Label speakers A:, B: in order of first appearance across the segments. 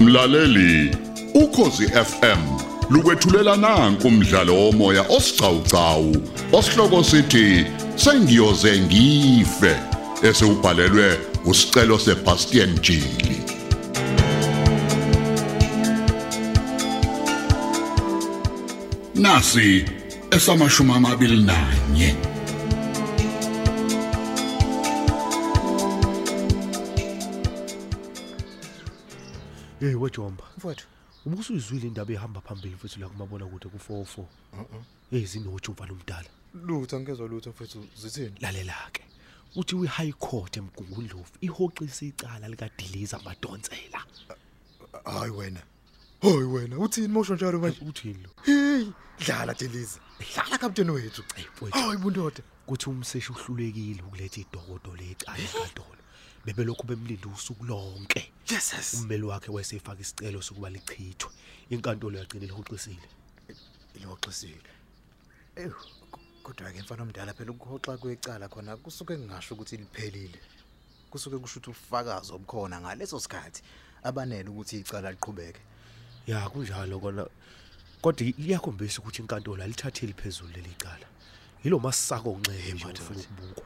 A: Mlaleli, ukhosi FM lukwethulela nanku umdlalo womoya osiqhawqhawo osihloko sithi sengiyoze ngife esewubhalelwe usicelo seBastian Jili. Nasi esamashuma amabili nanye.
B: Hey Eh, wejomba,
C: mfowethu
B: ubusuyizwile indaba ehamba phambili mfethu la oh kumabona kude ku44. Hey zinotshu mfana umdala.
C: lutho angezwa lutho mfowethu zithini
B: Lalela ke. Uthi we High Court emgungundlovu ihoxisa icala lika Deliza Madonsela.
C: hayi wena hoyi wena uthini mosho njalo manje
B: Uthini lo?
C: hey dlala deliza dlala kapteni wethu
B: Hey mfowethu,
C: hayi bundoda
B: kuthi umseshi uhlulekile ukuletha idokodo lecala enkantolo. Bebelokhu bemlinda usuku lonke.
C: yeses
B: Ummeli wakhe wayesefaka isicelo sokuba lichithwe. Inkantolo yagcina ihoxisile.
C: iloxisile ewu kodwa ke mfana omdala phela ukuhoxa kwecala khona kusuke kungasho ukuthi liphelile kusuke kusho ukuthi ubufakazi obukhona ngaleso sikhathi abanele ukuthi icala liqhubeke
B: Ya kunjalo kona. Kodwa liyakhombisa ukuthi inkantolo alithatheli phezulu leli cala. Yilo masako onxele nje ufuna ukubukwa.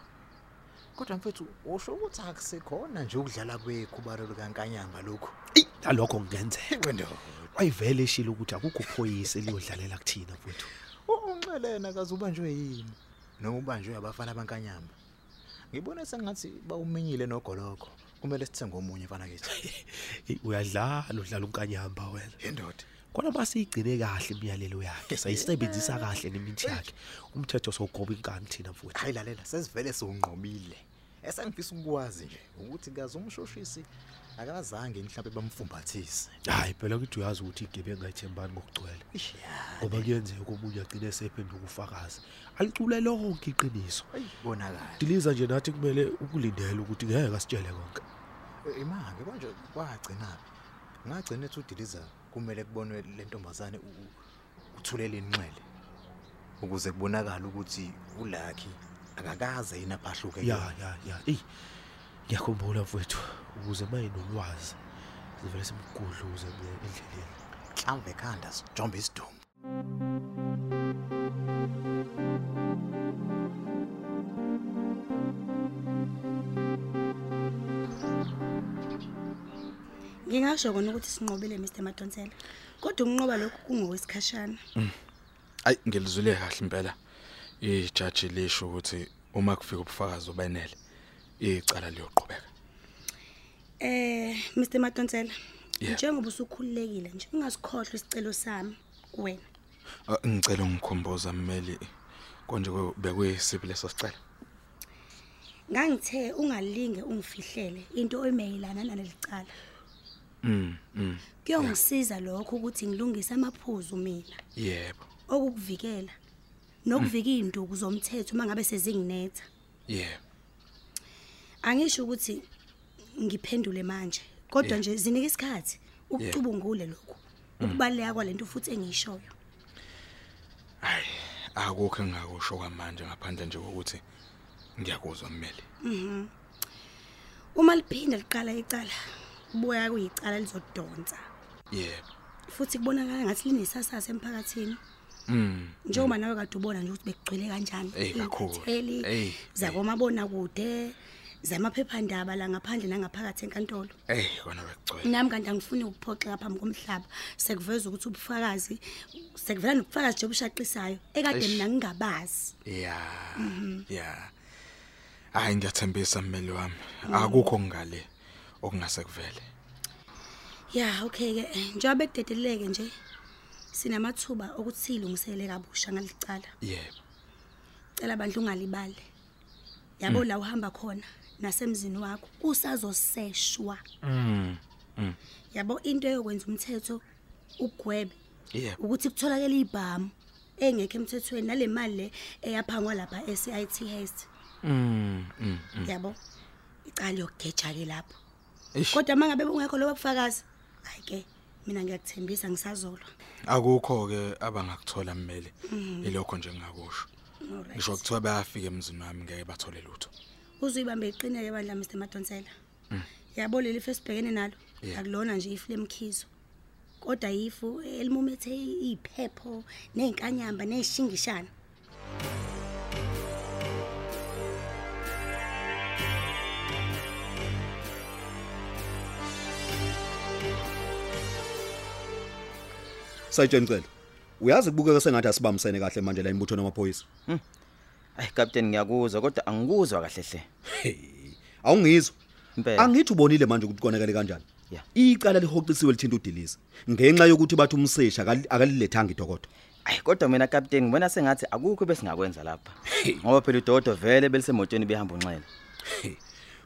C: kodwa mfethu usho ukuthi akusekhona nje ukudlala kwekhubalo likankanyamba lokhu
B: Ey, nalokho kungenzeka.
C: inqindoda
B: Wayivele eshilo ukuthi akukho phoyisa eliyodlalela kuthina mfowethu.
C: unxelena kaze ubanjwe yini noma ubanjwe abafana abankanyamba ngibona sengathi bawuminyile nogolokho kumele sithenge omunye mfana kithi
B: Hey uyadlala udlala unkanyamba wena.
C: indoda
B: Kona basiyigcine kahle imiyalelo yakhe. Sayisebenzisa kahle nemithi yakhe. Umthetho sogoba inkani thina mfowethu.
C: hayi lalela sesivele siwunqobile esengifisa ukwazi nje ukuthi kaze umshoshisi akazange mhlawumbe bamfumbathise
B: Hayi phela kithi uyazi ukuthi igebe ngayithembani ngokugcwele.
C: Eish, ya,
B: Ngoba kuyenzeka omunye agcine esephenduka ufakazi. Alicule lonke iqiniso.
C: bonakala
B: Diliza nje nathi kumele ukulindela ukuthi ngeke asitshele konke.
C: Eh, imange konje kwagcinaphi ngagcina ethi udiliza kumele kubonwe le ntombazane u- u- uthulele inxele ukuze kubonakale ukuthi ulucky akakaze yini aphahluke
B: Ya ya ya. Ey. Ngiyakhumbula mfowethu ukuze maye nolwazi. Sivele simgudluze nje endleleni.
C: mhlawumbe ekhanda sijombe isidumo
D: Ngingasho kona ukuthi sinqobile Mr Madonsela. Kodwa ukunqoba lokhu kungowesikhashana.
E: Ayi ngilizwile kahle impela. Ijaji lisho ukuthi uma kufika ubufakazi obenele icala liyoqhubeka.
D: Eh Mr Madonsela,
E: Yeah.
D: njengoba usukhululekile nje ungasikhohlwa isicelo sami kuwena.
E: Ah, Ngicela ungikhumbuza mmeli konje kwe- bekuyisiphi leso sicelo.
D: Ngangithe ungalinge ungifihlele into emayelana nalelicala.
E: Mm, mm.
D: Kuyongisiza lokho ukuthi ngilungise amaphuzu mina
E: Yebo.
D: okukuvikela nokuvika izinduku zomthetho mangabe sezinginetha.
E: Yebo.
D: Angisho ukuthi ngiphendule manje, kodwa
E: Yeah.
D: nje zinika isikhathi ukucubungule lokho. Ukubaleka kwalento futhi engiyishoyo.
E: Hayi akukho engakusho kwamanje ngaphandle nje kokuthi ngiyakuzwa mmeli.
D: Uma liphinda liqala icala, kubuya kuyicala lizodonsa.
E: Yebo.
D: Futhi kubonakala ngathi linesasasa emphakathini.
E: Mm.
D: Njengoba nawe kade ubona nje ukuthi bekugcwele kanjani.
E: Ey, kakhulu.
D: iy'ntatheli,
E: Ey,
D: zakomabona kude, zamaphephandaba la ngaphandle nangaphakathi enkantolo.
E: Ey kona bekugcwele.
D: Nami kanti angifuni ukuphoxeka phambi komhlaba. Sekuveza ukuthi ubufakazi sekuvela nobufakazi nje obushaqisayo ekade
E: Eish.
D: mina ngingabazi. Mhm.
E: Ya. Ya. Hayi ngiyathembisa mmeli wami.
D: Mm.
E: Akukho ngale okungase kuvele.
D: Ya, okay ke njengoba kudedeleke nje sinamathuba okuthi silungisele kabusha ngalicala.
E: Yebo.
D: Cela bandla ungalibali. Yabo
E: Mm.
D: la uhamba khona nasemzini wakho kusazoseshwa.
E: Mm.
D: Yabo into eyokwenza umthetho ugwebe
E: Yebo.
D: ukuthi kutholakale ibhamu engekho emthethweni nalemali le eyaphangwa lapha eCITH.
E: Mm. mm, mm.
D: Yabo icala yokugeja ke lapho.
E: Eish.
D: Kodwa mangabe ungekho lobo bufakazi, hayi ke mina ngiyakuthembisa ngisazolwa.
E: Akukho ke abangakuthola mmeli. Ilokho nje ngakusho.
D: Alright.
E: Ngisho kuthiwa bayafika emzini wami ngeke bathole lutho.
D: Uzuyibambe iqineke bandla Mr Madonsela. yabo leli fesibhekene nalo
C: Yeah.
D: akulona nje ifu lemkhizo kodwa yifu elimumethe iphepho nezinkanyamba nezishingishana
F: Sajeni Cele. Uyazi kubukeka sengathi asibambisene kahle manje la imibutho namaphoyisa.
G: Hayi captain ngiyakuzwa kodwa angikuzwa kahle hle.
F: Awungizwa.
G: Impela.
F: Angithi ubonile manje ukuthi konakele kanjani.
G: Eh. Yeah.
F: Icala lihoqisiwe lithinta uDelisa ngenxa yokuthi bathi umsesha akali- akalilethanga idokodo.
G: Hayi kodwa mina captain ngibona sengathi akukho besingakwenza lapha. Ngoba phela uDodo vele belisemotweni behamba unxele.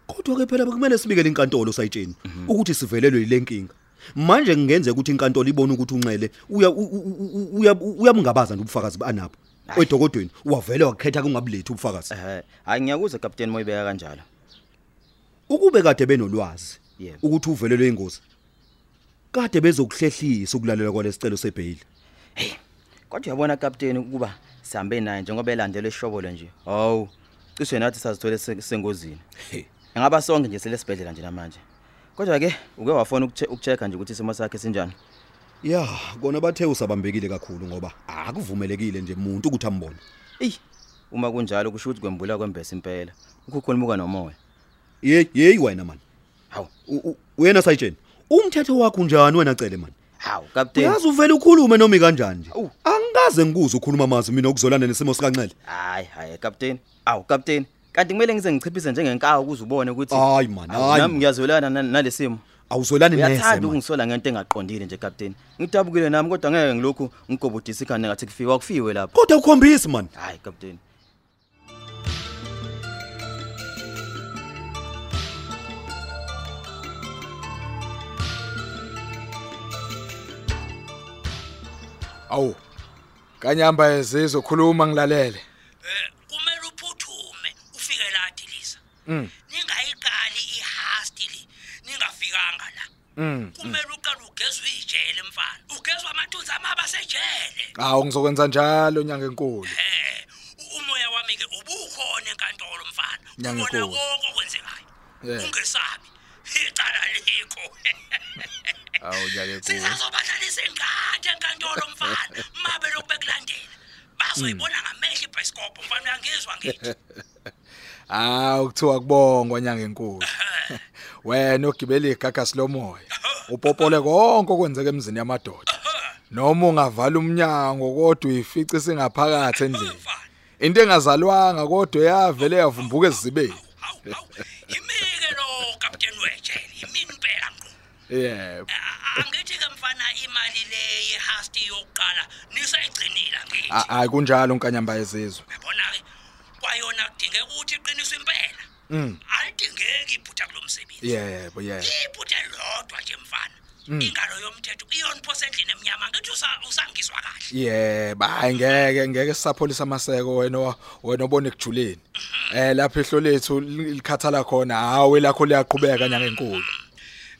F: Kodwa ke phela bekumele sibikele inkantolo sayitsheni
G: Mhm.
F: ukuthi sivelelwe yilenkinga. Manje kungenzeka ukuthi inkantolo ibone ukuthi unxele uya u- u- u- uya- uyabungabaza nobufakazi banabo.
G: Ayi.
F: Edokodweni wavele wakhetha kungabulethi ubufakazi.
G: Eh hayi ngiyakuzwa captain moyibeka kanjalo.
F: Ukube kade benolwazi
G: Yebo.
F: ukuthi uvelelwe ingozi. Kade bezokuhlehlisa ukulalela kwalesicelo sebail.
G: Kodwa uyabona captain ukuba sihambe naye njengoba elandele ishobolo nje. Hawu. Cishe nathi sasithole se- sengozini. Engaba sonke nje selesibhedlela nje namanje. Kodwa ke uke wafona ukuthe- ukuchecka nje ukuthi isimo sakhe sinjani.
F: Ya, kona bathe usabambekile kakhulu ngoba akuvumelekile nje umuntu ukuthi ambone.
G: Ey uma kunjalo kusho ukuthi kwembula kwembese impela. Ukukhulumuka nomoya.
F: Yey, yey wena man.
G: Hawu.
F: U- u- Wena sayitsheni. Umthetho wakho njani wena cele man?
G: Hawu captain.
F: Uyazi uvela ukhulume noma ikanjani nje.
G: Awu.
F: Angikaze ngikuze ukhuluma amazi mina okuzolana nesimo sikanxele.
G: Hayi hayi captain. Awu captain. Kanti kumele ngize ngichiphise njengenkawu ukuze ubone ukuthi
F: Hayi man,
G: Awu,
F: hayi
G: Nami
F: man.
G: ngiyazwelana na- nalesimo.
F: Awuzolani nese.
G: Uyathanda
F: man.
G: ukungisola ngento engaqondile nje captain. Ngidabukile nami kodwa ngeke ngilokhu ngigobodisa ikhanda ngathi kufiwa kufiwe lapho.
F: Kodwa ukhombisi man.
G: Hayi captain.
C: Awu. Kanyamba ezizokhuluma ngilalele.
H: kumele uphuthume ufike la dilisa
C: Mm,
H: ningayiqali ihasti le ningafikanga la
C: mm.
H: kumele uqale ugezwe ijele mfana ugezwe amathunzi amaba sejele
C: Awu ngizokwenza njalo nyanga enkulu.
H: eh u- umoya wami ke ubukhona enkantolo mfana
C: Nyanga
H: ubona
C: enkulu.
H: konke okwenzekayo
C: Yeah.
H: ungesabi icala likho
C: Awu nyanga enkulu.
H: sizazobadlalisa ingadi enkantolo mfana mabe lokhu bekulandela bazoyibona ngamehlo ibhayisikobho mfana uyangizwa ngithi
C: Awu kuthiwa kubongwa nyanga enkulu. Wena ogibela igagasi lomoya. Upopole konke okwenzeka emzini yamadoda. Noma ungavala umnyango kodwa uyifica singaphakathi endlini. Into engazalwanga kodwa yavele yavumbuka esizibeni.
H: Hawu hawu imike lo Captain Wetshele imini impela ngqo.
C: Yebo.
H: A- Angithi ke mfana imali le yehasti yokuqala nisayigcinile ngithi.
C: Hayi kunjalo unkanyamba yezizwe.
H: Yabona ke kwayona kudingeka ukuthi iqiniso impela. Alidingeki iphutha kulomsebenzi.
C: Yebo, yebo.
H: Iphutha lodwa nje mfana. Ingalo yomthetho iyoniphosa endlini emnyama ngithi usa- usangizwa kahle.
C: Yebo, hayi ngeke ngeke sisapholisa amaseko wena owa- wena obona ekujuleni. Eh lapho ihlo lethu li- likhathala khona, hawe lakho liyaqhubeka nyanga enkulu.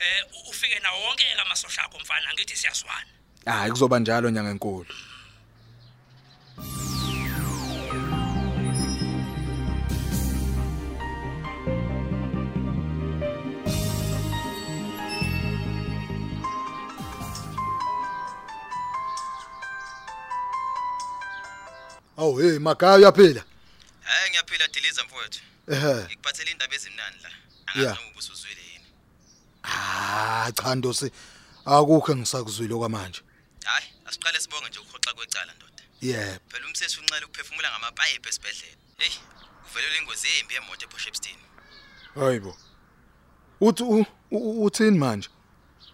H: Eh u- ufike nawo wonke ke amasosha akho mfana ngithi siyazwana.
C: Hayi kuzoba njalo nyanga enkulu. Awu hey magaya uyaphila.
G: Hayi ngiyaphila Deliza mfowethu.
F: Eh.
C: Ehhe.
G: Ngikuphathele indaba ezimnandi la.
C: Yeah.
G: Angazi noma ubusuzwile yini.
C: Ah cha Ndosi akukho engisakuzwile okwamanje.
G: Hayi, asiqale sibonge nje ukuhoxa kwecala ndoda.
C: Yebo.
G: Phela umseshi unxele ukuphefumula ngamapayipi esibedlela. Hey, uvelelwe ingozi embi yemoto eBoshepstein.
C: Hayibo. Uthi u- u- uthini manje?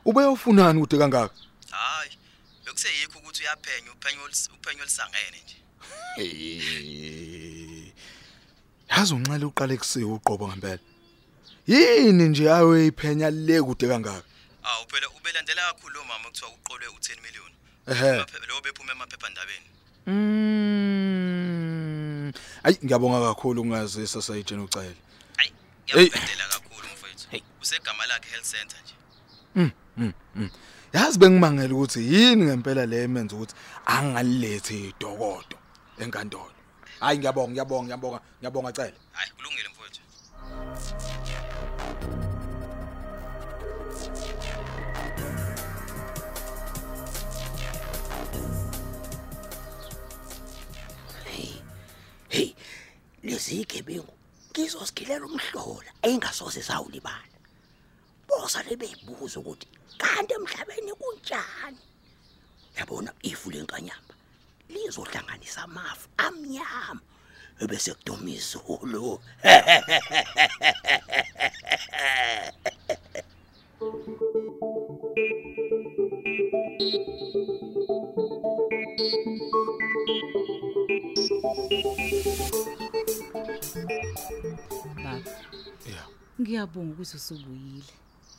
C: Ube ufunani ude kangaka?
G: Hayi, bekuseyikho ukuthi uyaphenya uphenyo olus- uphenyo lisangene nje.
C: Yazi unxele uqale kusiwe uqobo ngempela. Yini nje awe iphenya le kude kangaka?
G: Awu phela ubelandela kakhulu lo mama kuthiwa uqolwe u10 million.
C: Ehhe.
G: Emaphe- Lo bephuma emaphephandabeni.
C: Mm. Ayi ngiyabonga kakhulu ungazisa sayitshena ucele.
G: Hayi,
C: Hey.
G: ngiyabhedela kakhulu mfowethu. Usegama lakhe health center nje.
C: Yazi bengimangela ukuthi yini ngempela le emenza ukuthi angalilethi idokodo enkantolo. Hayi ngiyabonga ngiyabonga ngiyabonga ngiyabonga cele.
G: Hayi, kulungile mfowethu.
H: lezigebengu ngizosigilela umhlola engasoze sawulibala bosa lebeyibuza ukuthi kanti emhlabeni kunjani yabona ifu lenkanyamba lizohlanganisa amafu amnyama ebese kuduma izulu
I: baba
C: Ya.
I: ngiyabonga ukuthi usubuyile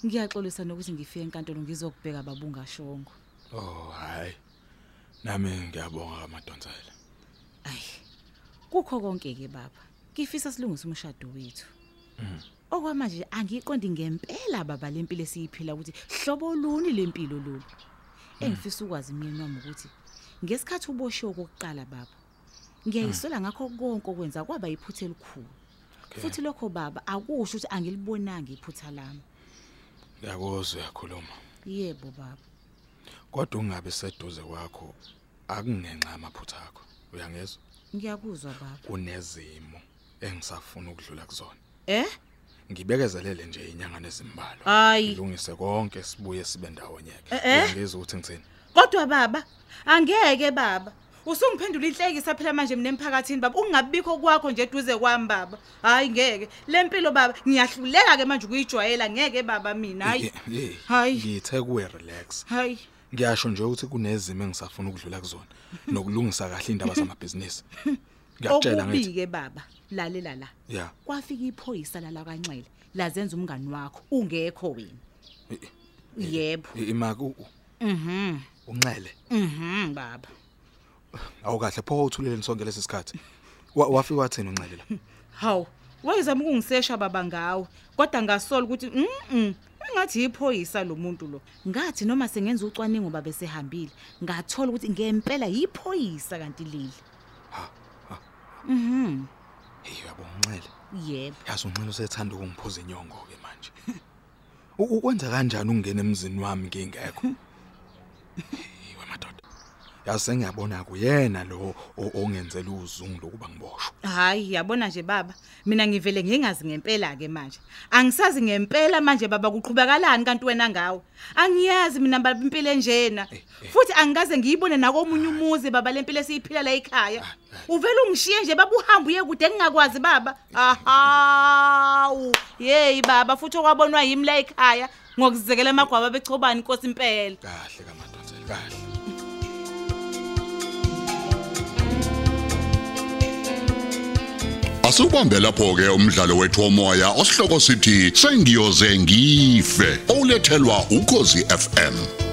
I: ngiyaxolisa nokuthi ngifike enkantolo ngizokubheka baba ungashongo
C: Oh hayi. Nami ngiyabonga kaMadonsela.
I: ayi kukho konke ke baba ngifisa silungise umshado wethu okwamanje angiqondi ngempela baba lempilo esiyiphila ukuthi hlobo luni lempilo lolu engifisa ukwazi mina nami ukuthi ngesikhathi uboshiwe kokuqala baba ngiyayisola ngakho konke okwenza kwaba iphutha elikhulu futhi lokho baba akusho ukuthi angilibonanga iphutha lami
C: Ngiyakuzwa uyakhuluma.
I: yebo baba
C: Kodwa ungabe seduze kwakho akungenxa amaphutha akho. Uyangezwa?
I: ngiyakuzwa baba
C: Unezimo engisafuna ukudlula kuzona.
I: eh
C: Ngibekezelele nje inyanga nezimbalwa.
I: Hhayi.
C: Ngilungise konke sibuye sibe ndawonye ke.
I: Eh, eh.
C: Ngizwe ukuthi ngithini.
I: Kodwa baba, angeke baba. Usungiphendula inhlekisa phela manje mina emphakathini baba. Ungabikho kwakho nje eduze kwami baba. Hayi ngeke. Le mpilo baba, ngiyahluleka ke manje ukuyijwayela ngeke baba mina. Hayi.
C: Eh, eh,
I: Hhayi.
C: Ngithe kuwe relax.
I: Hayi.
C: Ngiyasho nje ukuthi kunezimo engisafuna ukudlula kuzona nokulungisa kahle indaba zamabhizinisi. Ngiyakutshela ngithi.
I: Okubike baba, lalela la.
C: Yeah.
I: Kwafika iphoyisa lala kanxele, lazenza umngani wakho ungekho wena. Yebo.
C: I- Imaku
I: Mhm.
C: unxele.
I: Mhm baba.
C: Awukahle pho uthuleleni sonke lesisikhathi. Wa- Wafika wathina unxele la.
I: Haw, wayezama ukungisesha baba ngawo, kodwa ngasola ukuthi mhm. Ngathi iphoyisa lo muntu lo. Ngathi noma sengenza ucwaningo babe sehambile, ngathola ukuthi ngempela iphoyisa kanti leli.
C: Ha, ha.
I: Mhm.
C: Hey yabo unxele.
I: Yebo.
C: Yazi unxele usethanda ukungiphuza inyongo ke manje. U- Ukwenza kanjani ungena emzini wami ngingekho? Yiwe madoda. Yazi sengiyabona kuyena lo o- ongenzela uzungu lokuba ngiboshwe.
I: Hayi, yabona nje baba, mina ngivele ngingazi ngempela ke manje. Angisazi ngempela manje baba kuqhubekalani kanti wena ngawo. Angiyazi mina baba impilo enjena. Futhi angikaze ngiyibone nakomunye umuzi baba lempilo esiyiphila la ekhaya. Uvela ungishiye nje baba uhamba uye kude engingakwazi baba. Aha! Hey baba, futhi okwabonwa yimi la ekhaya ngokuzekela amagwaba bechobani Nkosi impela.
C: Kahle kaMadonsela kahle.
A: Asubambe lapho ke umdlalo wethu omoya osihloko sithi sengiyoze ngife olethelwa ukhozi FM